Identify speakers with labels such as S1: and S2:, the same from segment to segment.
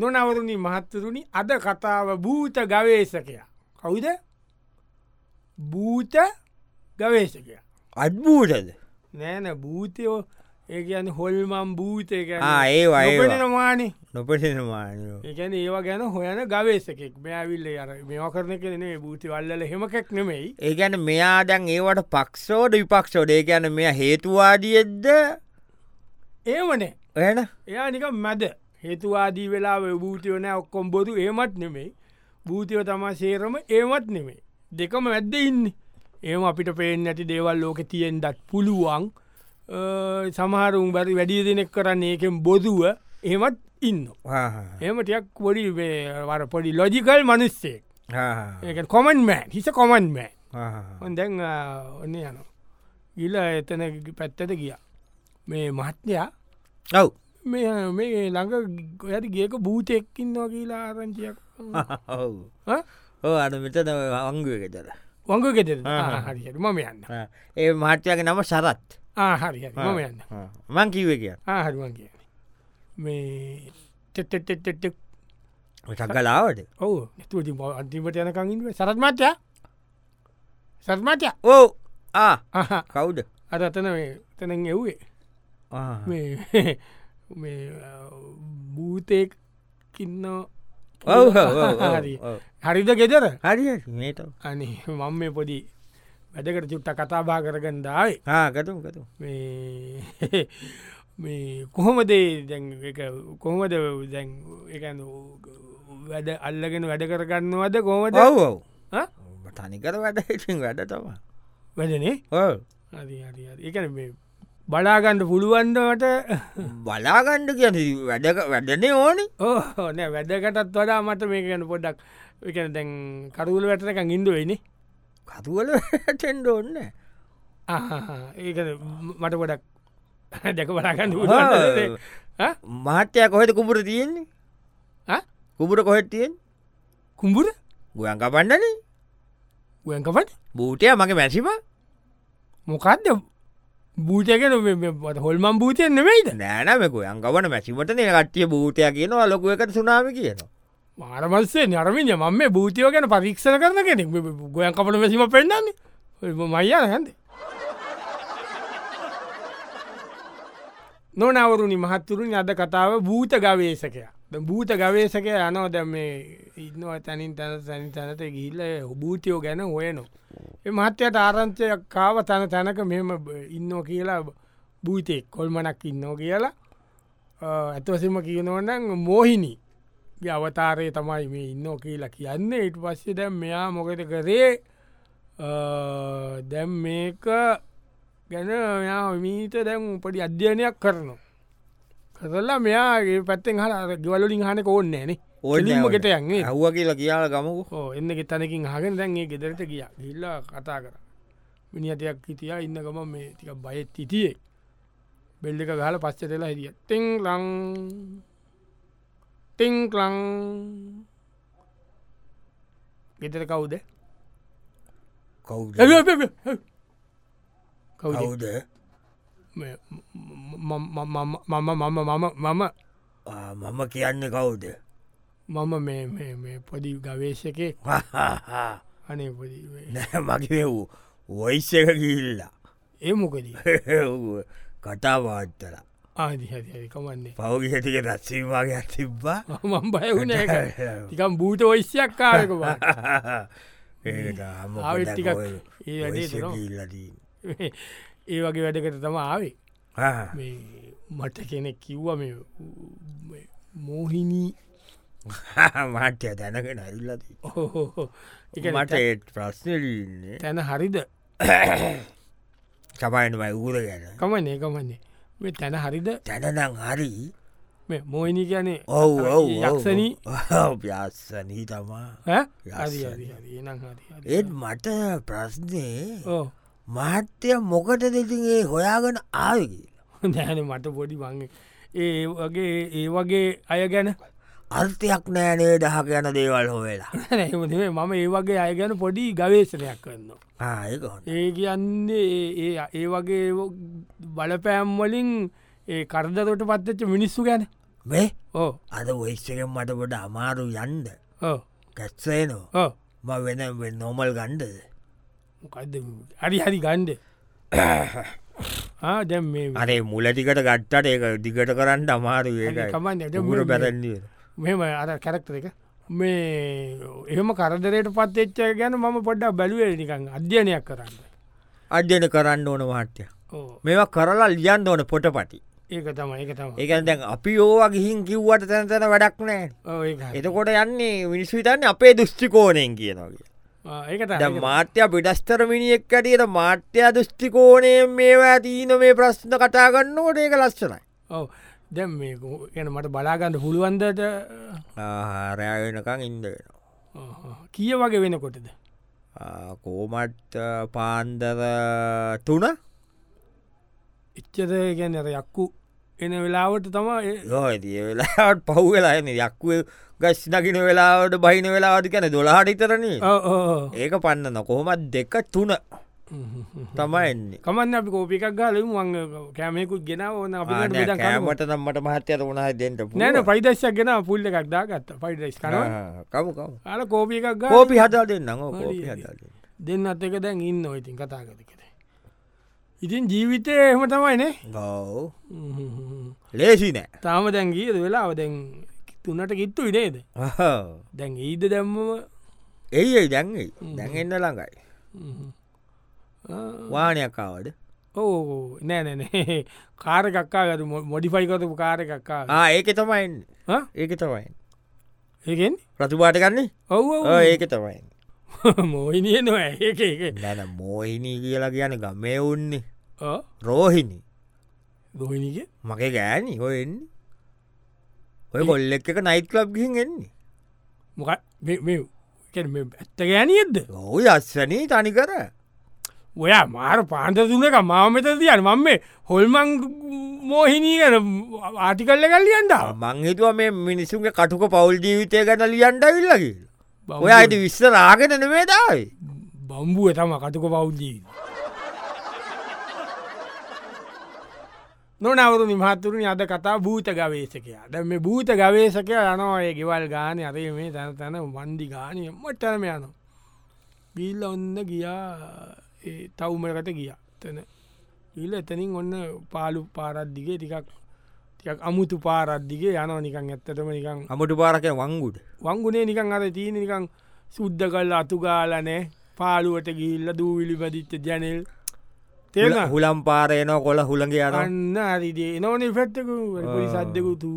S1: නොනවරුණි මහත්තරුණි අද කතාව භූත ගවේශකයා. කවුද භූත ගවේශකයා.
S2: අත්භූතද
S1: නෑන භූතයෝ ඒ ගැන හොල්මම් භූතයක
S2: ආ, ඒවා, ඒවා.
S1: නවානේ
S2: නොපසනමානෝ
S1: ඒකැන ඒවා ගැන හොයන ගවේශකෙක් මෙයාවිල්ල අර මෙවා කරන කෙනේ භූතිවල්ල හෙමකෙක් නෙමෙයි
S2: ඒගැන මෙයා දැන් ඒවට පක්ෂෝඩ විපක්ෂෝඩ ඒ ගැන මෙය හේතුවාදියෙද්ද
S1: ඒමනේ
S2: එන
S1: එයා නික මැද හේතුවාදී වෙලා භූතිවන ඔක්කොම් බොරු ඒමත් නෙමෙයි භූතිව තමා සේරම ඒමත් නෙමේ දෙකම වැද්ද ඉන්න ඒම අපිට පේෙන් ඇති දේවල් ලෝක තියෙන් දත් පුළුවන් අ, සමහරුම් බැරි වැඩිය දෙනෙක් කරන්න ඒකෙන් බොදුව ඒමත් ඉන්න ඒමටයක් පොඩි වේ- වර පොඩි ලොජිකල් මනුස්සෙක් ඒක කොමන් මෑ හිස කොමන් මෑ ඔන් දැන් අ, ඔන්න යන ගිල එතන පැත්තට ගිය මේ මහත්්‍යයා
S2: ඔව්
S1: මේ මේ ළඟ ඇයට ගේක භූතෙක්කින්වා කියලා ආරංචියක්
S2: ඔව් ඕ අන මෙතන අංගුවකතර
S1: වංග ගෙත
S2: ආ, ආ.
S1: හරියට මම යන්න
S2: ඒ මහත්්‍යයක නම සරත්
S1: ආහරි මම යන්න
S2: මං කිව කිය
S1: ආහරුවන් කියන්නේ මේ තෙටෙටෙටෙක්
S2: කලාවට
S1: ඔව නැතුවති අන්තිමට යනකංින් සරත්මාත්‍ය සත්මාත්‍ය
S2: ඕ ආ
S1: අහ
S2: කවුද
S1: අර අතන මේ තැන එව්වේ
S2: ආ.
S1: මේ මේ අ, භූතෙක් කින්න
S2: ඔව්, ඔව්, ඔව්, ඔව්,
S1: හරි
S2: ඔව්.
S1: හරිද ගෙදර
S2: හරි මේත
S1: අනේ මං මේ පොඩි වැඩකට චුට්ට කතාබා කරගන්නාවේ
S2: ආකතුම් කතු
S1: මේ මේ කොහොමදේ කොහොමද දැන් එකන වැඩ අල්ලගෙන වැඩ කරගන්නවද කොහොමද
S2: ඔව් ඔව්
S1: ආ?
S2: තනිකර වැඩ ඉතින් වැඩ තමා
S1: වැඩනේ
S2: ඕ
S1: හරි, හරි, හරි. ඒ කියන්නේ මේ බලාගණ්ඩ පුළුවන්දවට
S2: බලාගණ්ඩ කියන වැඩ වැඩනේ ඕනි
S1: ඕන වැඩකටත් වඩා මට මේ ගැන පොඩක් එක දැන් කරුල වැටනක ඉින්දුවයිනි
S2: කතුවල ටෙන්ඩ ඕන්න
S1: ඒක මට පොඩක් දැක බලාගන්න
S2: ඔව්. මහත්‍යය කොහෙද කුපුර තියෙන්නේ කුපුර කොහෙත් තියෙන්
S1: කුම්බුර
S2: ගුවන් කපන්නන
S1: ගුවන්කපට
S2: බූටය මගේ මැසිම
S1: මොකක්ද භූතයකන හොල්මම් භූතයෙන් නෙමෙයිද
S2: නෑනමකු යංකවන මැසිමට නය කට්ටිය භූතය කියනවා ලොකුව එකට සුනාම කියනවා
S1: මාරමස්සේ නරමිය මම මේ භූතියෝ ගැන පරීක්ෂණ කරන කෙනෙක් ගොයන් කපට වැසිම පෙන්න්නන්නේ මයියා හැද නොනවරුණනි මහත්තුරුන් අද කතාව භූත ගවේශකයා දැන් භූත ගවේශකය යනෝ දැ මේ ඉන්නවා තැනින් තැන සැනි තැනත ගිල්ල භූතියෝ ගැන හොයනො මහත්්‍යයට ආරංචයක් කාව තන තැනක මෙම ඉන්න කියලා භූතෙක් කොල්මනක් ඉන්නෝ කියලා ඇතවසම කියනවනන් මෝහිනී ගේ අවතාරය තමයි මේ ඉන්න කියලා කියන්නේ ඉට පස්සේ දැම් මෙයා මොකද කරේ අ, දැම් මේක ගැන මෙයා මීට දැම් උපටි අධ්‍යයනයක් කරනවා කරලා මෙයාගේ පැත්තෙන් හර ගවලින් හනක ඕන්න න
S2: ඕන්න නෑ ඕන්න.
S1: ගෙට යන්නේ
S2: ඇහුව කියලා කියාල ගමකු
S1: ඕ එන්න ගෙතනකින් හගෙන දැන්ගේ ගෙදරට ගිය ඉල්ල කතා කර මිනිියටයක් හිටියා ඉන්නකම මේ ටික බයත් හිටියේ බෙල්ලි එක ගහල පස්සටලා හිටිය ටිංලං ටිංලං ගෙතර කවුද
S2: කවුද
S1: ඇවි, ඇවි, ඇවි, ඇවි. කවුද
S2: කවුද
S1: මේ ම- ම- ම- ම- මම මම මම මම
S2: ආ, මම කියන්න කවුද
S1: මම මේ- මේ මේ පොඩි ගවේශකේ
S2: හහහා.
S1: අනේ පොඩි
S2: නෑ මගේ වූ වොයිස් එක කිල්ලා
S1: ඒ මොකදී
S2: කටාවාත්තල
S1: ආදිහරි කමන්නේ
S2: පවගි හැටික රත්සීමවාගේ ඇතිබ්බා
S1: මම බයවුණ තිකම් භූත වයිශ්‍යයක් කාරකවා ආවෙත් ටිකක් ඒ වැඩේ දෙනවා.
S2: ඉල්ලදී
S1: ඒ වගේ වැඩකට තම ආවේ මේ මට කෙනෙක් කිව්ව මේ මේ මෝහිනී
S2: මට්‍ය දැනගෙන ඇල්ලදී
S1: ඔහොහොහො. ඒ කියන්නේ
S2: මට ඒත් ප්‍රශ්නලන්නේ
S1: තැන හරිද
S2: සමයිනමයි උගුර ගැන
S1: කමන්නේ කමන්නේ මේ තැන හරිද
S2: තැනනම් හරි
S1: මේ මෝහිනී කියන්නේ
S2: ඔව් ඔව්
S1: යක්ෂණී
S2: ප්‍යස්සනී තමා
S1: ඈ? හරි,
S2: යක්ෂණී.
S1: හරි, හරි. එහෙනම් හරි, හරි.
S2: ඒත් මට ප්‍රශ්නේ
S1: ඔව්.
S2: මහත්‍යය මොකට දෙතිගේ හොයාගෙන ආය කියලා
S1: නෑනේ මට පොඩි වංග ඒ වගේ ඒ වගේ අය ගැන
S2: අර්ථයක් නෑනේ දහ ගැන දේවල් හොවෙලා
S1: නැහමේ මම ඒ වගේ අය ගැන පොඩි ගවේශනයක් කරන්න
S2: ආයකොන්න
S1: ඒ කියන්නේ ඒ- ඒ- ඒ වගේ ඒව- බලපෑම් වලින් ඒ කරදරට පත්ච්ච මිනිස්සු ගැන
S2: මේ
S1: ඕ
S2: අද ඔයිස්සකෙන් මට ගොඩ අමාරු යන්ද
S1: ඕ
S2: කැත්සේනෝ
S1: ඕ
S2: ම වෙන වෙ- නොමල් ගණ්ඩද
S1: මොකක්ද හරි හරි ගණ්ඩ දැම් මේ
S2: අනේ මුලටිකට ගට්ටට ඒක දිගට කරන්න අමාරු
S1: කමන්න
S2: ඒකයි
S1: දැන්
S2: මුර
S1: මේ-
S2: පැරැන්ිය
S1: මෙම අර කැරක්තර එක මේ එහෙම කරදරයට පත් එච්ච ගැන මම පොඩ්ඩක් බැලුවේ නිකං අධ්‍යනයක් කරන්න
S2: අධ්‍යන කරන්න ඕන මහට්‍ය
S1: ඕ
S2: මේවා කරලා ලියන්න ඕන පොට පටි
S1: ඒක තම ඒක තම
S2: ඒකන් දැන් අපි ඕවා ගිහින් කිව්වට තැනතන වැඩක් නෑ
S1: ඕ ඒක හරි.
S2: එතකොට යන්නේ මිනිස් විතන්න අපේ දෘෂ්ටිකෝනයෙන් කියනගේ
S1: ආ, ඒක
S2: ද
S1: තමයි
S2: මාත්‍ය පිටස්තර මිනිියෙක් ඇටියට මාත්‍ය දෘෂ්ටිකෝනය මේවා තියන මේ ප්‍රශ්න කටාගන්න ඕට ඒක ලස්සනයි
S1: ඔව දැම් මේ ගැන මට බලාගන්න පුළුවන්දට
S2: ආහාරයාගෙනකං ඉන්දගෙන
S1: කිය වගේ වෙනකොටද
S2: කෝමට් පාන්දර තුන
S1: එච්චද ගැන අර යක්කු එන වෙලාවට තම
S2: යෝතිය වෙලාට පහු වෙලාන යක්කුව ගස් දකින වෙලාවට බහින වෙලාවට කැන දොලාට ඉතරන්නේ ඒක පන්න නොකොහොමත් දෙක තුන තමයි එන්නේ
S1: කමන්න අපි කෝපිකක් ගලම වංග කෑමෙකුත් ගෙන ඕන අපිට බෙදා කන්න
S2: කෑමට නම්මට මහත්‍යයට වුණහ දෙට
S1: නෑන පයිදශයක් ගෙන පුල්ල එකක් දාගත්ත පයිඩස් කරන
S2: කමුකම
S1: අල කෝපි එකක් ගා
S2: කෝපි හදා දෙන්න කෝපි
S1: හරි.
S2: හදා දෙන්න.
S1: දෙන්නත් එක දැන් ඉන්න ඉතින් කතා කරකෙන ඉතින් ජීවිතය එහෙම තමයිනේ
S2: ඔව් ලේසි
S1: තාම දැන් ගීද වෙලා දැන් තුන්නට කිත්තු ඉඩේද
S2: නෑ
S1: දැන් ඊද දැම්මම
S2: එයි දැන්යි දැන් එන්න ළඟයි වානයක්කාවද
S1: ඕ නෑනැන කාර එකක්කා ගතු මොඩිෆයිකතු කාර එකක්කා
S2: ඒක තමයින් ඒක තමයින්
S1: ඒකෙන්
S2: ප්‍රතිපාට කන්නේ
S1: ඔව
S2: ආ, ඒක තමයින්
S1: මෝහිනිය නො ඒක ඒක
S2: නැන මෝහිනී කියලා කියන ගමේ උන්නේ
S1: ඕ,
S2: රෝහිණි
S1: දොහිනික
S2: මගේ ගෑනි හොයන්නේ ඔය කොල්ල එක නයිට ලබ් ගිහින් එන්නේ
S1: මොකක් මෙව් ඇත්ත ගෑනියෙද්ද
S2: ඔහු අස්සනී තනිකර
S1: ඔයා මාර පාන්ත තුනක මාමත තියන් මම මේ හොල්මං මෝහිනී ගැන ආටිකල්ල කල්ලියන්ට
S2: මංහිතුව මේ මිනිසුන්ගේ කටුක පවුල් ජීවිතය ගැන ලියන්ඩ විල්ලකි ඔය අයට විශ්ස රාගෙන නවේදායි
S1: බම්බුව තම කටක පෞද්දී නොනවරු නිමහත්තුරනි අද කතා භූත ගවේශකයා දැ මේ භූත ගවේශකය යනවාය ගෙවල් ගාන අර මේ තැන තැන වන්ඩි ගානය මට්ටරම යන ගිල්ල ඔන්න ගියා ඒ තවුමරකට ගිය තැන ඉල්ල එතනින් ඔන්න පාලු පාරද්දිගේ ටිකක් ටිකක් අමුතු පාරද්දිගේ යන නිකං ඇත්තටම නිකං
S2: අමට පාරක වංගුඩ
S1: වංගුනේ නිකං අර තිීන නිකං සුද්ධ කල් අතුගාලනෑ පාලුවට ගිල්ල දූවිලි බදිච්ච ජැනෙල් තෙල්
S2: හුලම් පාරයනෝ කොල හුළගේ අරන්න
S1: අන්න අරිදේ නොනේ පැත්තකු පොලි සද්දකු තු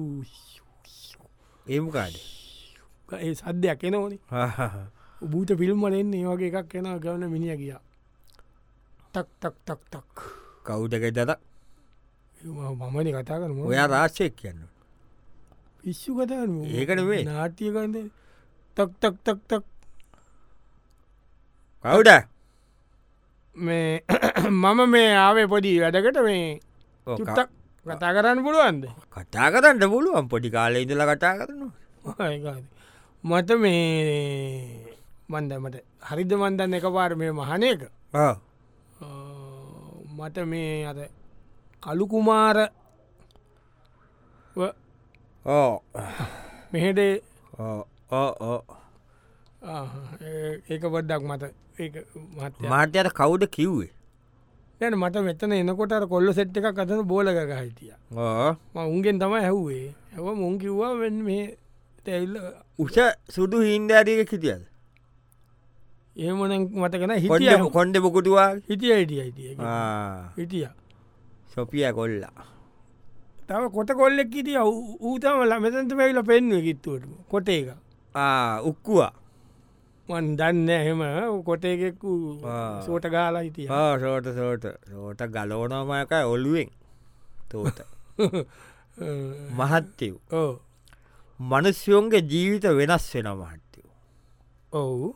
S2: ඒම්කාඩ
S1: ඒ සද්ධයක් එනෝනේ බූත පිල්ම්මල එන්නේ ඒ වගේ එකක් එෙන ගවන මිනිිය කියා තක් තක් තක් තක්
S2: කෞුදකෙදර
S1: ඒ මමන කතා කරම
S2: ඔයා රාශයක් කියන්න
S1: පිස්සු කතා
S2: ඒකට වේ.
S1: නාට්‍යකන්ද තක් තක් තක් තක්
S2: කවුඩ
S1: මේ මම මේ ආවේ පොඩි වැඩකට මේ චුට්ටක් කතා කරන්න පුළුවන්ද
S2: කටා කරන්න පුළුවන් පොඩි කාල ඉදල කටා කරනවා
S1: ඒකාද. මට මේ මන්දමට හරිද මන්දන්න එක පාර මේ මහනයක
S2: ආ.
S1: මට මේ අද කලුකුමාර ව
S2: ඕ
S1: මෙහෙඩේ
S2: ඕ, ඕ, ඕ.
S1: ආ, ඒ- ඒක බොඩ්ඩක් මට ඒ මත
S2: මාර්තයට කවුද කිව්වේ
S1: යන මට මෙතන එනකොට අර කොල්ල සෙට් එකක් අතන බෝලක හිටිය
S2: ඕ.
S1: ම උන්ගෙන් තම ඇහුවේ ඇව මුන් කිව්වා වෙන් මේ තැල්ල
S2: උස සුදු හින්ද ඇටික කිටියද
S1: ඒමන මතකෙන
S2: කොඩ
S1: හිටිය
S2: කොන්ඩ පුකුටවා
S1: හිටිය හිටිය හිටිය හිටිය
S2: සොපිය කොල්ලා
S1: තව කොට කොල්ලෙක් හිටිය ඌතම මෙතැන්ත පැවිල පෙන්ව කිත්තුවට කොට එක
S2: ආ, උක්කුවා
S1: මන් දන්න එහෙම කොටයකෙක්කු
S2: ආ.
S1: සෝට ගාලා හිටිය
S2: ආ, සෝට සෝට සෝට ගලෝනෝමයකයි ඔල්ුවෙන් තෝත මහත්තයව්
S1: ඕ
S2: මනුස්යෝන්ගේ ජීවිත වෙනස් වෙන මහත්තයෝ.
S1: ඔවු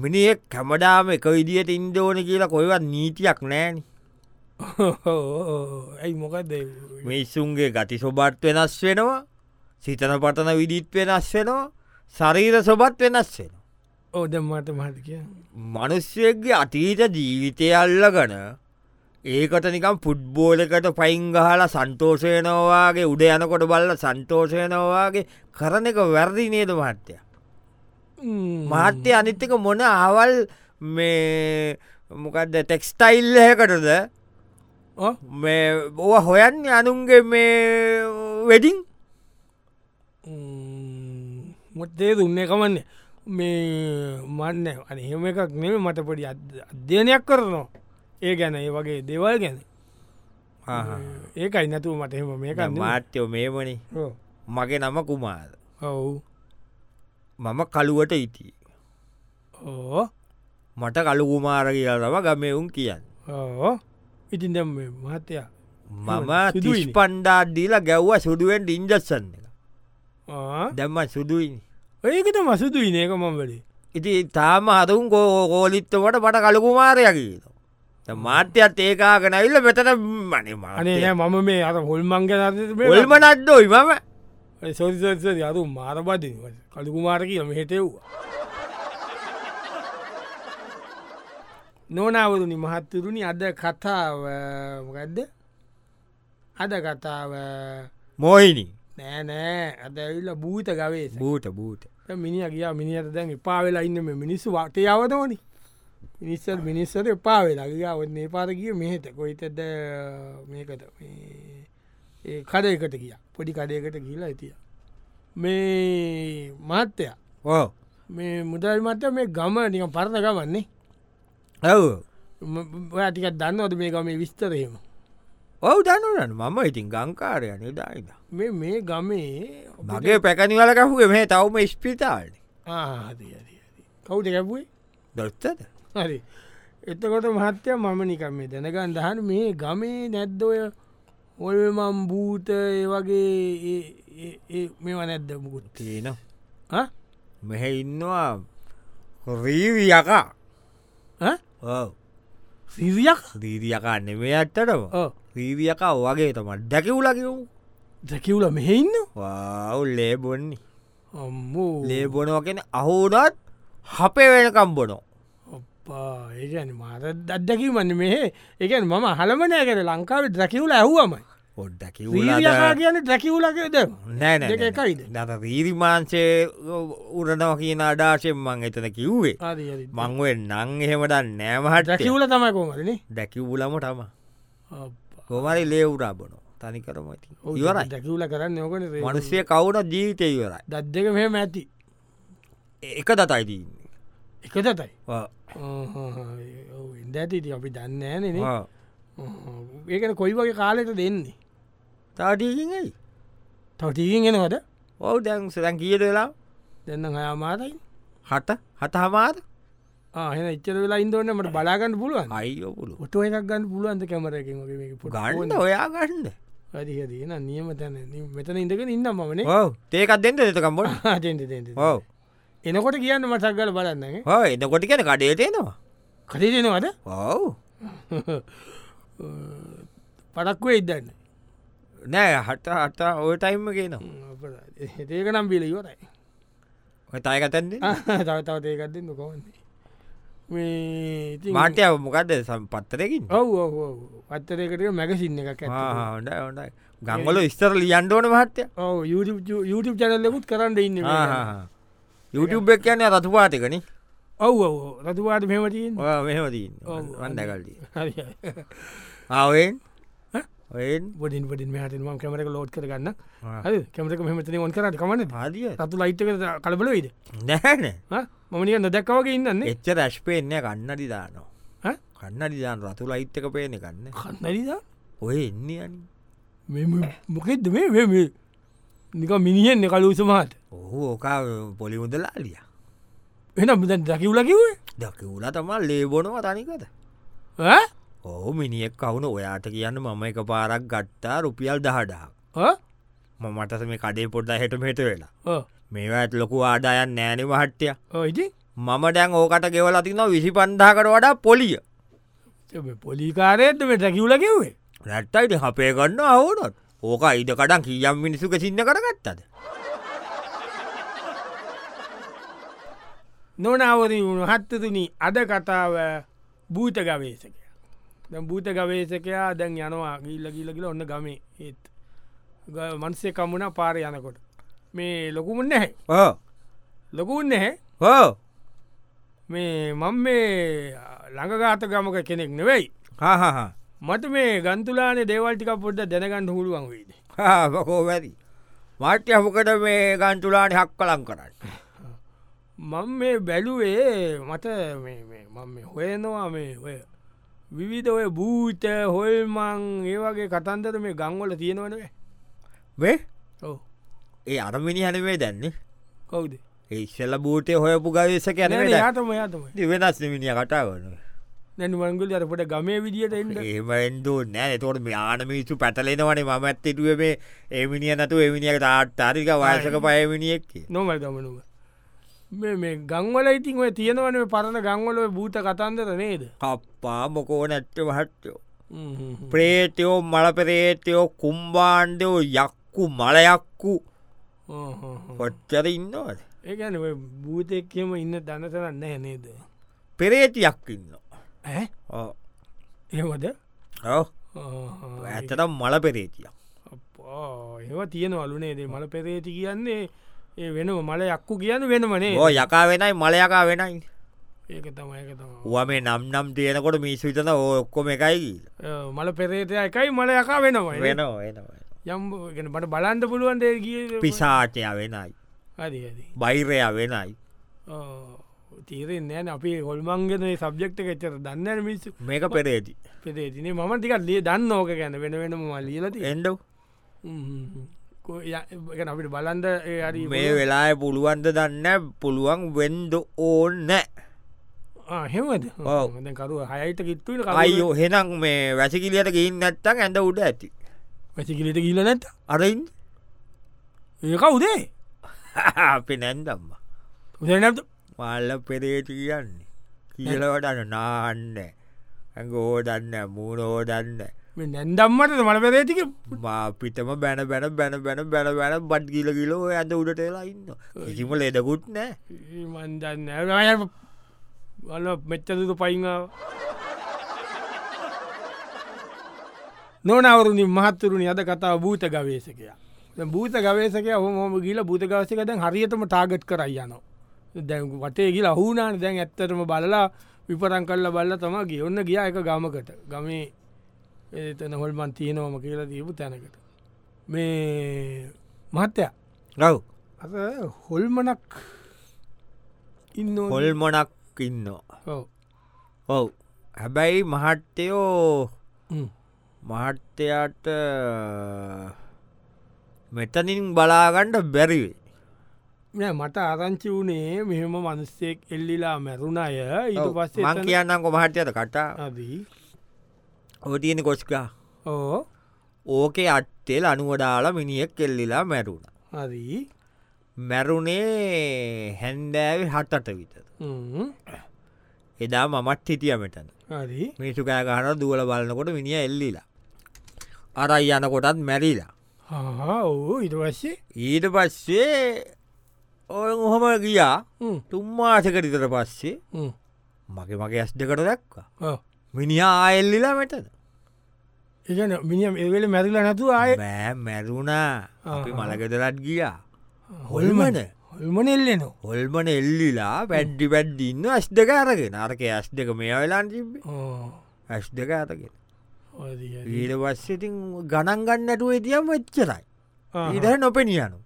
S2: මිනිෙක් කැමඩාම එක විදිට ඉන්දෝන කියලා කොයිවත් නීතියක් නෑන
S1: ඇයි මොකක්ද
S2: මිනිස්සුන්ගේ ගති සොබත් වෙනස් වෙනවා සිතන පටන විදිත් වෙනස් වෙනවා ශරීර සොබත් වෙනස් වෙන.
S1: ඕදම් මට මහට කිය
S2: මනුස්්‍යයගේ අතීත ජීවිතය අල්ලගන ඒකට නිකම් පුඩ්බෝලකට පයිංගහලා සන්තෝෂයනවාගේ උඩ යනකොට බල්ල සන්තෝෂයනවාගේ කරන එක වැරදි නේද මහත්්‍ය මහත්්‍ය අනිත්තික මොන අවල් මේ මොකක්ද ටෙක්ස්ටයිල්ලකටද මේ ඕ හොයන් අනුන්ගේ මේ වෙඩින්
S1: මොත්තේ දුන්නේ කමන්නේ මේ මන්න අනහෙම එකක් නෙම මට පොඩි අධ්‍යනයක් කරනවා ඒ ගැන ඒ වගේ දෙවල් ගැන ඒකයි නැතුව මට එහෙම මේක
S2: මාට්‍යයෝ මේමනි මගේ නම කුමාද
S1: ඔවු
S2: මම කළුවට ඉටී
S1: ඕ
S2: මට කළු කුමාර කියලම ගමවුන් කියන්න
S1: ඕ ඉතින් දැම් මහත්තයා
S2: මම
S1: සිදුවිලි.
S2: පණ්ඩාඩ්දීලා ගැව්ව සුදුවෙන් ඉන්ජස්සන්න
S1: ආ.
S2: දැම්ම සුදුයිනි
S1: ඒකට මසුතු ඉනයක මම වලේ
S2: ඉති තාම හතුන් කෝ කෝලිත්තවට මට කළුකුමාරයකිීන මාත්‍යත් ඒකාගෙනවිල්ල මෙතන මනේ
S1: අනේ
S2: මානේ
S1: නෑ මම මේ අර හොල්මංග
S2: ඔල්ම නඩ්ඩෝ ඉමම
S1: සොරිසරි අරු මාරබද කළුකුමාර කියම හෙටෙව්වා නොනවරුණි මහත්තුරුණි අද කතාව මොකක්ද අද කතාව
S2: මොහිනි
S1: නෑනෑ අදැවිල්ල භූත ගවේ
S2: බූට බූට
S1: මිනිිය ගියා මිනිියට දැන් එපා වෙලා ඉන්න මේ මිනිස්සු වට යවතෝනි මිනිස්සල් මිනිස්සට එපා වෙලා ගියාවත් ඒපාර කිය මෙහෙත කොයිතද මේකට මේ ඒ කඩයකට කිය පොඩි කඩයකට කියලා ඇතිය මේ මත්තය
S2: ඕ
S1: මේ මුදල් මත මේ ගම නික පරණ ගමන්නේ
S2: ඇව්
S1: ඔයාටිකත් දන්නවද මේ ගමේ විස්තරයම
S2: ඔවු දනුනන් මම ඉතින් ගංකාරයන දායිද
S1: මේ මේ ගමේ
S2: මගේ පැකනිවලකහුගේ මේ තවම ස්පිතාල්න
S1: ආහරි කවුට කැපුේ
S2: දොත්තද
S1: හරි එතකොට මහත්‍යය මම නිකම් මේ දැනගන්න දහන මේ ගමේ නැද්දෝය ඔල්මම් භූත ඒ වගේ ඒ- ඒ- ඒ මේවා නැද්ද මුකුත්
S2: තියෙන
S1: හ?
S2: මෙහෙ ඉන්නවා රීවියකා
S1: හ?
S2: ඕ
S1: සිරියක්
S2: දීරියකා නෙමේ ඇත්තටම
S1: ඕ
S2: රීවියකා වගේ තමට දැකිවුලකිවූ
S1: දැකිවුල මෙහෙ ඉන්න
S2: වාව් ලේබොන්නේ
S1: අම්මෝ
S2: ලේබොනෝ කියෙන අහුනත් හපේ වෙනකම් බොනෝ
S1: අපා ඒගැන මාත දත්දැකිවන්න මෙහ එකන් මම හළමනය කර ලංකාවේ දැකිවුල ඇහුවමයි
S2: පොඩ්ඩකි
S1: රීරියකා කියන දැකිවුලකද දෙක
S2: නෑ
S1: එකයිද?
S2: නත රීරිමාංශය උරනව කියන අඩාශයෙන් මං එතන කිව්වේ මංුවෙන් නං එහෙමට නෑමහට
S1: දැකිවුල තමයි කෝමරන
S2: දැකිවුලම තම කොමරි ලේවුරා බොනෝ තනි කරම ඇති ඉවරයි
S1: දැකිවුල කරන්න ඕකන
S2: මනුස්සය කවුන ජීවිතය ඉවරයි
S1: දත් දෙක මෙහෙම ඇති
S2: එක දතයිදීන්නේ
S1: එක තතයි ඉද ඇතිට අපි දන්නෑනන ඒකන කොයි වගේ කාලෙට දෙන්නේ
S2: තාටීයි
S1: තවටීගෙනවද
S2: ඔවු දැන් සදැන් කියද වෙලා
S1: දෙන්න හයාමාතයි
S2: හට හතහමාද
S1: ආහෙන ඉච්චර වෙලා ඉදන්නමට බලාගන්න පුළුවන්
S2: අයිෝපුළු
S1: ඔොට එකක් ගන්න පුළුවන්ද කැමරකින් වගේ
S2: ගන්න ඔයා ගන්න
S1: දන නියම තැන නියම- මෙතන ඉඳගෙන ඉන්න මමන
S2: ඕ ඒකත් දෙන්න දෙතකම්බොට ඕ
S1: එනකොට කියන්න මසක්ගල බලන්න
S2: ඕ එන්නකොට කියන කඩේටේනවා
S1: කටදෙනවද
S2: ඔව්
S1: පඩක්වේ ඉදන්න
S2: නෑ හට හට ඔය ටයිම්ම කියනවා
S1: ඒක නම් පිලිවරයි
S2: තයකතැන්ද
S1: තවතාව ඒකත්දන්න කොවන්නේ මේ ඉතින්-
S2: මාටය මොකක්ද සම්පත්තරකින්
S1: ඔව් ඔව් ඔව්. පත්තරයකට මැගසින්න එකක් ඇත
S2: හොඩ හොඩයි ගංගොල විස්තර ලියන්ඩෝන මහත්තය
S1: ඔව YouTube චැනල්ලකුත් කරන්න ඉන්න මේ ගැන.
S2: YouTube එක කියන්නේ රතු පාතිකන
S1: ඔව් ඔව් ඔව්. රතුවාට මෙමතින්
S2: මෙහමදී
S1: ඔව්.
S2: වන්දකල්දී ආවෙන් ඔයෙන්
S1: බොඩින් පඩින් මෙහටම කැමරක ලෝඩ් කරගන්න හරි කැමරක මෙමතන ොන් කරට කමන්න
S2: පාදිය
S1: රතු ලයිට්ක කලබල වෙයිද
S2: නැහැන
S1: මමනික නොදැක්කවගේ ඉන්නන්නේ
S2: එච්ච රැශ්පේෙන්න්න කන්නඩි දානවා
S1: ඈ?
S2: කන්නඩි දාන රතු ලයිත්තක පේන කන්න
S1: කන්නරිදා
S2: ඔය එන්නේයන්
S1: මොකෙද මේ මෙම නික මිනිහෙන් කලුසමහත්
S2: ඔහු ඕකා පොලිමුදලාලිය
S1: එන බදන් දකිවුල කිවේ
S2: දකිවුල තමා ලේබොනව තනිකද ඕහු මිනිියක් කවුන ඔයාට කියන්න මම එක පාරක් ගත්තා රුපියල් දහඩා මමටස මේ කඩේ පොඩ්ඩ හෙට මෙට වෙලා මේවා ඇත් ලොකු ආදායන් නෑනෙ මහට්ටය
S1: ඉති
S2: මම ඩැන් ඕකට ගෙවල තිනවා විසි පණ්ඩාකට වඩා පොලිය
S1: පොලිකාරයද මේ දැකිවුල කිවේ
S2: රැට්ටයිට හපේ ගන්න අවුනොත් ඕක ඉඩ කඩන් කියම් මිනිසුක සින්න කරගත්තද
S1: නොනවරී වුණු හත්තතුනි අද කතාව භූත ගවේශකය දැම් භූත ගවේසකයා දැන් යනවා ගිල්ල ගිලකිල ඔන්න ගමේ ඒත් මන්සේ කමුණ පාර යනකොට මේ ලොකුමන්න හැ ලොකුන්න හැ
S2: ඕ
S1: මේ මං මේ ළඟගාත ගමක කෙනෙක් නෙවෙයි
S2: හහහ
S1: මට මේ ගන්තුලාන දේවල්ටික පොඩ්ඩ දැනගන්න හුළුවන් වේද
S2: හකෝ වැරි මාට්‍ය හොකට මේ ගන්තුලාට හක් කලම් කරන්න
S1: මං මේ බැලුවේ මට මේ- මේ මං මේ හොයනවා මේ ඔය විවිධ ඔය භූත හොල්මං ඒ වගේ කතන්දර මේ ගංවල තියෙනවනවේ
S2: මේ
S1: ඔව
S2: ඒ අරමිනි හැනවේ දැන්නේ
S1: කවුද
S2: ඒ ඉස්සල්ල බූටය හොයපු ගවිස කැන
S1: යාතම යාතමයි
S2: වෙනස් නිමිනිිය කටා වන
S1: නැන වංගල අරපට ගමේ විදිට එන්න
S2: ඒමෙන්දු නෑ තොට යානමිසු පැටලෙනවනේ මම ඇත්තටුව මේ ඒමිනිිය නතු එමිනිියක තාට්තාරික වාර්ශක පයමිනිියෙක්කේ
S1: නොමල් ගමනුව මේ මේ ගංවල ඉතින් ඔය තියෙනවන පරණ ගංවල ඔය භූත කතන්දර නේද
S2: කප්පා මොකෝ නැට්ට වහට්ටෝ
S1: හ්ම් හ්ම් හ්ම්.
S2: ප්‍රේතයෝ මලපරේතයෝ කුම්බාන්්ඩයෝ යක්කු මලයක්කු
S1: ඕ හෝ හෝ.
S2: කොච්චර ඉන්නවද
S1: ඒ ගැන භූතයක්කම ඉන්න දනසරන්න හැනේද
S2: පෙරේතියක් ඉන්න
S1: ඇ ඒවද ඕ.
S2: ඇතනම් මල පෙරේතියක්
S1: අප්පා, ඒවා තියෙනවලුනේදේ මල පෙරේති කියන්නේ ඒ වෙන මල යක්කු කියන වෙනමනේ
S2: ඕ යකා වෙනයි මලයකා වෙනයි
S1: ඒක තමයික තම
S2: ව මේ නම් නම් තියෙනකොට මිස්විතන ඔක්කොම එකයි කියලා.
S1: මල පෙරේතය එකයි මල යකා වෙනමයි
S2: වෙන වෙන
S1: යම්ගෙන මට බලන්ඩ පුළුවන් දේ කිය
S2: පිසාටය වෙනයි
S1: හරි හරි
S2: බෛරය වෙනයි
S1: තීරෙන් නෑන අපි හොල්මන්ගෙන සබ්ෙක්ට එච්චර දන්න මිස්
S2: මේක පෙරේති
S1: පෙරේතිනේ මම ටිකක් ලිය දන්න ඕක ගැන වෙන වෙනම ලියලති
S2: එඩ
S1: අපිට බලන්ද ඒ හරි
S2: මේ වෙලා පුළුවන්ද දන්න පුළුවන් වෙන්ඩ ඕන්න
S1: ආ, එහෙමද
S2: ඔව්.
S1: දැන් කරුව හයට කිත්තුවට
S2: අයෝ හෙනම් මේ වැසිකිලියට ගින් නැත්තක් ඇඳ උඩ ඇති
S1: වැසිකිලට ගිල්ල නැත
S2: අරයින්
S1: ඒක උදේ
S2: අපි නැන්දම්ම
S1: උදේ නැත
S2: මල්ල පෙරේති කියන්නේ කියලවටන්න නාන්න ඇඟෝදන්න මූනෝදන්න
S1: මේ නැන්දම්මට මල පෙරේතික
S2: මාපිටම බැන බැන බැන බැන බැන බැන බඩ් ගිල කිලෝ ඇඳ උඩටලා ඉන්න කිසිම ලෙඩකුත් නෑ
S1: මන්දන්න අය වල මෙච්චදක පයිංාව නොනවරුණි මහත්තුරුණි අද කතාව භූත ගවේශකයා දැන් භූත ගවේශකය හොම ගිල භූත ගවසක දැන් හරියටම ටාගට් කරයි යනවා දැන් වටේ ගිලා හුනාන දැන් ඇත්තටම බලලා විපරං කල්ල බල්ල තම ගියඔන්න ගියා එක ගමකට ගමේ එතන හොල්මන් තියෙනවම කියලා දීපු තැනකට මේ මහත්තයා
S2: ගව්
S1: අර හොල්මනක් ඉන්න ඕනේ.
S2: හොල්මොනක් ඉන්නවා
S1: ඔව්.
S2: ඔව් හැබැයි මහට්ටයෝ
S1: හ්ම්.
S2: මහට්ටයාට මෙතනින් බලාගණ්ඩ බැරිවේ
S1: නෑ මට ආරංචි වුණේ මෙහෙම මනුස්සෙක් එල්ලිලා මැරුණ අය ඊට පස්සේ
S2: මං
S1: එතන-
S2: කියන්නක මහට්ටයට කටා
S1: අදී
S2: ඕතියන කොස්්කා
S1: ඕ
S2: ඕකේ අට්ටෙල් අනුවඩාලා මිනිියක් කෙල්ලිලා මැරුණ
S1: අදී
S2: මැරුණේ හැන්දෑවි හටට විතර එදා මමත් හිටිය මෙටන
S1: අදී
S2: මිනිසු කෑගහන දුවල බලන්නකොට මිනිිය එල්ලිලා අරයි යනකොටත් මැරිලා
S1: හා ඕ ඉට පස්සේ
S2: ඊට පස්සේ ඔය ඔහොම ගියා
S1: හ්ම්.
S2: තුම්මාසකරිතර පස්සේ
S1: හ්ම්.
S2: මගේ මගේ ඇස් දෙකට දැක්වා
S1: ඔව්.
S2: මිනිහා ආයෙල්ලිලා මෙටන
S1: ඒ කියන්නේ මිනිියම් එවෙල මැරිලා නැතු ආය
S2: බෑ මැරුණා අපි
S1: ආහා.
S2: මළගෙදරත් ගියා හොල්මන
S1: හොල්මන එල්ලෙනවා
S2: හොල්මන එල්ලිලා පැඩ්ඩි පැඩ්ඩි ඉන්න ඇස් දෙක අරගෙන අරක ඇස් දෙක මේ වෙලාන් තිබේ ඇස් දෙක අරගෙන ඊට පස්සෙතින් ගණන් ගන්නටුව තියම් වෙච්චරයි ඉඩ නොපෙනියනු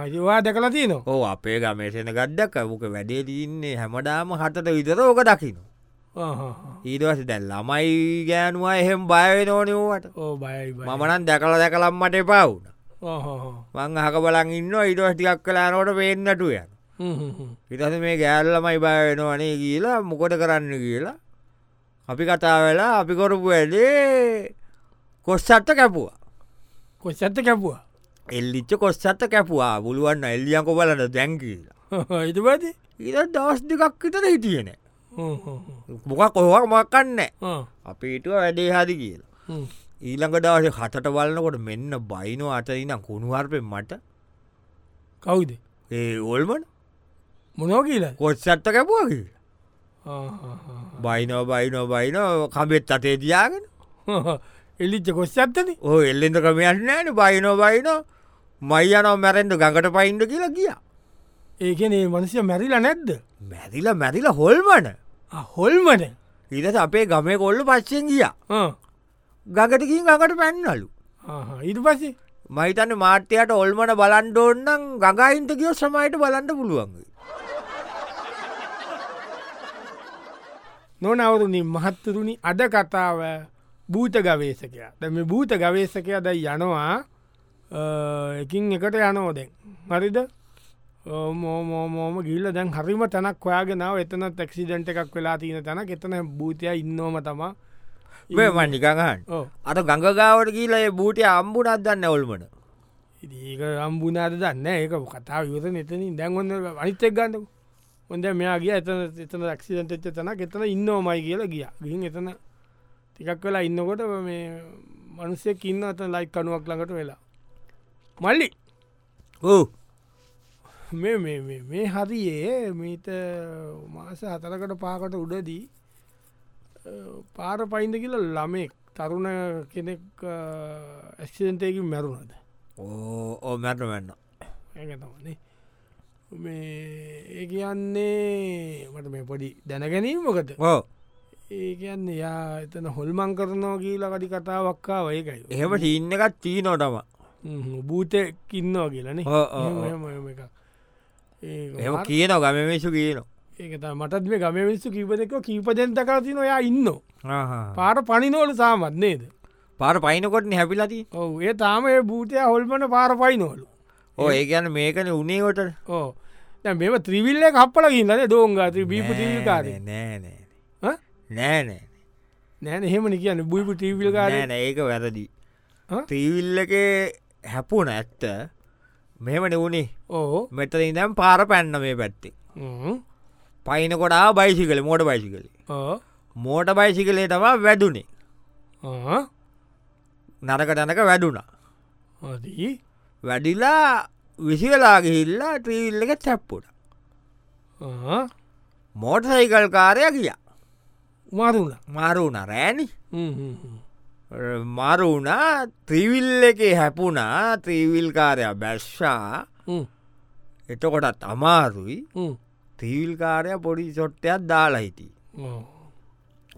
S1: හජවා දැකලා තියනවා
S2: ඕ අපේ ගමේසෙන ගඩ්ඩක් ඇවක වැඩේ තින්නේ හැමඩාම හටට විතර ඕක දකිනු ඊටවස දැල් ළමයි ගෑනුවා එහෙම බයවෙන ඕනවට
S1: ඕ බයයි බයි
S2: මමනන් දැකල දැකලම් මට පවුන
S1: ඕ
S2: මං අහක බලන් ඉන්න ඉඩස් ටිකක් කලානෝට පේන්නටුව යන ඉටස මේ ගෑල්ලමයි බයවෙනවනේ කියලා මොකොට කරන්න කියලා අපි කතා වෙලා අපි කොරපු වැඩේ කොස්සත්ත කැපුවා
S1: කොච්චත්ත කැපුවා
S2: එල්ලිච්ච කොස්සත්ත කැපුවා පුළුවන්න එල්ලියකො බලට දැන් කියලා
S1: ඉටපති
S2: ඉර දවස් දෙකක් විතර හිටියන මොකක් කොහක් මක්කන්න අපි හිටුව වැඩේ හරි කියලා ඊළඟ දවස හතට බලන්නකොට මෙන්න බයිනෝ අතරිනම් කුණුවර්පෙන් මට
S1: කවුද
S2: ඒ ඔල්මන්
S1: මොනෝ කියලා
S2: කොච්සත්ත කැපුවකි බයිනෝ බයිනෝ බයිනෝ කබෙත් අතේ දයාගෙන
S1: එලිච්ච කොස් ඇත්තන
S2: ඕ එල්ලෙන්ට කමයන්නන බයිනෝ බයිනෝ මයියනෝ මැරෙන්ඩ ගඟට පයින්ඩ කියලා ගිය
S1: ඒකනේ මනසිය මැරිලා නැද්ද
S2: මැරිල මැරිල හොල්මන
S1: හොල්මන
S2: ඉදස අපේ ගමේ කොල්ලු පච්චෙන් ගිය ගඟටකින් ගඟට පැන්නලු
S1: ඉට පසේ
S2: මහිතන මාට්‍යයට ඔල්මන බලන්ඩෝන්නම් ගඟයින්ට කියෝ සමයිට බලන්ඩ පුළුවන්
S1: නොනවරුණින් මහත්තරුණි අද කතාව භූත ගවේශකයා දැම භූත ගවේශකයා දැයි යනවා එකින් එකට යනෝදෙන් මරිද මෝමෝම ගිල්ල දැන් හරිම තැනක් ඔයාගෙනාව එතන තැක්සිඩන්ට එකක් වෙලා තියෙන තැන එතන භූතය ඉන්නෝම තමා
S2: මේ මන්නිකහන්
S1: ඕ
S2: අත ගඟගාවට කියීලයේ බූටය අම්බුනත් දන්න ඔල්මන
S1: ඒක අම්බුනාද දන්න ඒක කතා යුත නතනින් දැන්වන්න අනිතෙක් ගන්නක හොඳ මෙයා ගිය එතන එතන රක්ෂිදන්තච්ච තන එතන ඉන්නෝමයි කියලා ගිය ගිහින් එතන ටිකක් වෙලා ඉන්නකොට මේ මනුස්සෙක් ඉන්න අත ලයි කනුවක් ළඟට වෙලා මල්ලි
S2: ඕ
S1: මේ මේ මේ- මේ හරියේ මීට මාස හතරකට පාකට උඩදී අ, පාර පයින්ද කියල ළමෙක් තරුණ කෙනෙක් ඇක්සිදන්ටයකින් මැරුණද
S2: ඕ මැට වෙන්න
S1: ඇතමනේ මේ ඒ කියන්නේ මට මේ පොඩි දැනගැනීමකත
S2: ඕ
S1: ඒ කියන්නේ යා එතන හොල්මං කරනවා කියලා කටි කතාවක්කා වයකයි
S2: එහෙම ටීන්න එකත් චීනෝටම
S1: භූතයක් ඉන්නවා කියලනේ
S2: ඕ, ඕ, ඕ.
S1: එහෙම- එහෙම එකක්. ඒක
S2: එහම
S1: හරි-
S2: කියන ගමමේශු කියන
S1: ඒකත මටත් මේ ගමවිස්සු කීපදෙක කීපදෙන්තකරති නොයා ඉන්න පාර පනිනෝලු සාමත් නේද
S2: පාර පයිනකොටන හැපිලති
S1: ඔව ඒ තාම ඒ භූතය හොල්මන පාර පයිනෝලු
S2: ඕ ඒ ගැන මේකන උනේකොට
S1: ඕ දැ මෙම ත්‍රිවිල්ල කප්පල ඉන්නන දෝංගාත බීපු ටීවිකාර
S2: නෑනෑ නෑනෑ
S1: නෑන එහෙමනි කියන්න බුයිපු ටීවිල් කාර
S2: නෑ නෑ, ඒක වැරදි
S1: හා?
S2: තීවිල්ලක හැපුන ඇත්ත මෙම නෙවුණේ
S1: ඕ
S2: මෙතරින් දැම් පාර පැන්න මේ පැත්තේ පයිනකොටා බයිසි කළ මෝට බයිසි කළේ මෝට බයිසි කළේ තවා වැඩුණේ නරක තැනක වැඩුණා
S1: හදී
S2: වැඩිලා විසිකලාගිහිල්ලා ත්‍රීවිල්ලක තැප්පුට මෝට සයිකල් කාරය කිය
S1: මාරුණ
S2: මරුණ රෑණි මරුණ ත්‍රීවිල් එක හැපුණා ත්‍රීවිල්කාරය බැස්්ෂා එතකොටත් අමාරුයි ත්‍රීවිල්කාරය පොඩි චොට්ටයක් දාලා හිටී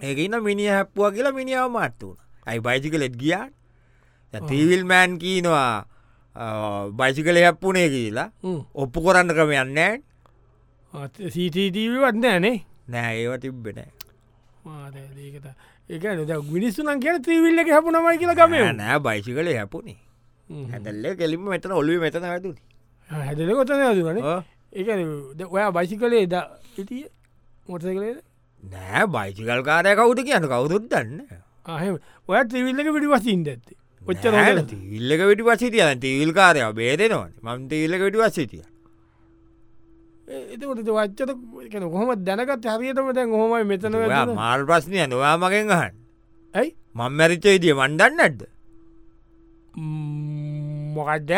S2: ඒකන්න මිනි හැප්පුුව කියලා මිනිියාව මට්ටුන ඇයි බයිසි කලෙත් ගියාට තීවිල් මෑන් කීනවා බයිසි කල හැප්පුනේ කියලා ඔප්පු කොරන්න ක්‍රම යන්න
S1: සීටීටීවත් නෑනේ
S2: නෑ ඒව තිබ්බෙන
S1: මාදකත එක මිනිස්සුනන් කියෙන ත්‍රීවිල්ල එක හැපුනමයි කියලා ගමේ
S2: නෑ බයිසි කල හැපුනේ හැදල්ල කෙලිම මෙතන ඔලුව මෙතන ඇතුන
S1: හැදල කොතන දුවන එක ඔයා බයිසි කලේ ද ඉටිය මොටස කලේද
S2: නෑ බයිසිකල් කාරය කවුට කියන කවුරුත් දන්න
S1: ආහෙම ඔය ත්‍රීවිල්ලක පිටි වසින්ද ඇත්ත ඔච්චර
S2: ඉල්ලක විටි වසිටිය තිවිල් කාරය බේදෙනවන මම තිල්ලක විටි වස්සිටිය
S1: එතකොට වච්චත කන කොහොම දැනකත් හරියටම දැන් හොමයි මෙතන වැදුන.
S2: මාර් ප්‍රශ්නය නවා මගෙන් අහන්
S1: ඇයි
S2: මං මැරිච්ච විදිිය මණ්ඩන්න ඇද
S1: ම්ම්, මොකක්ද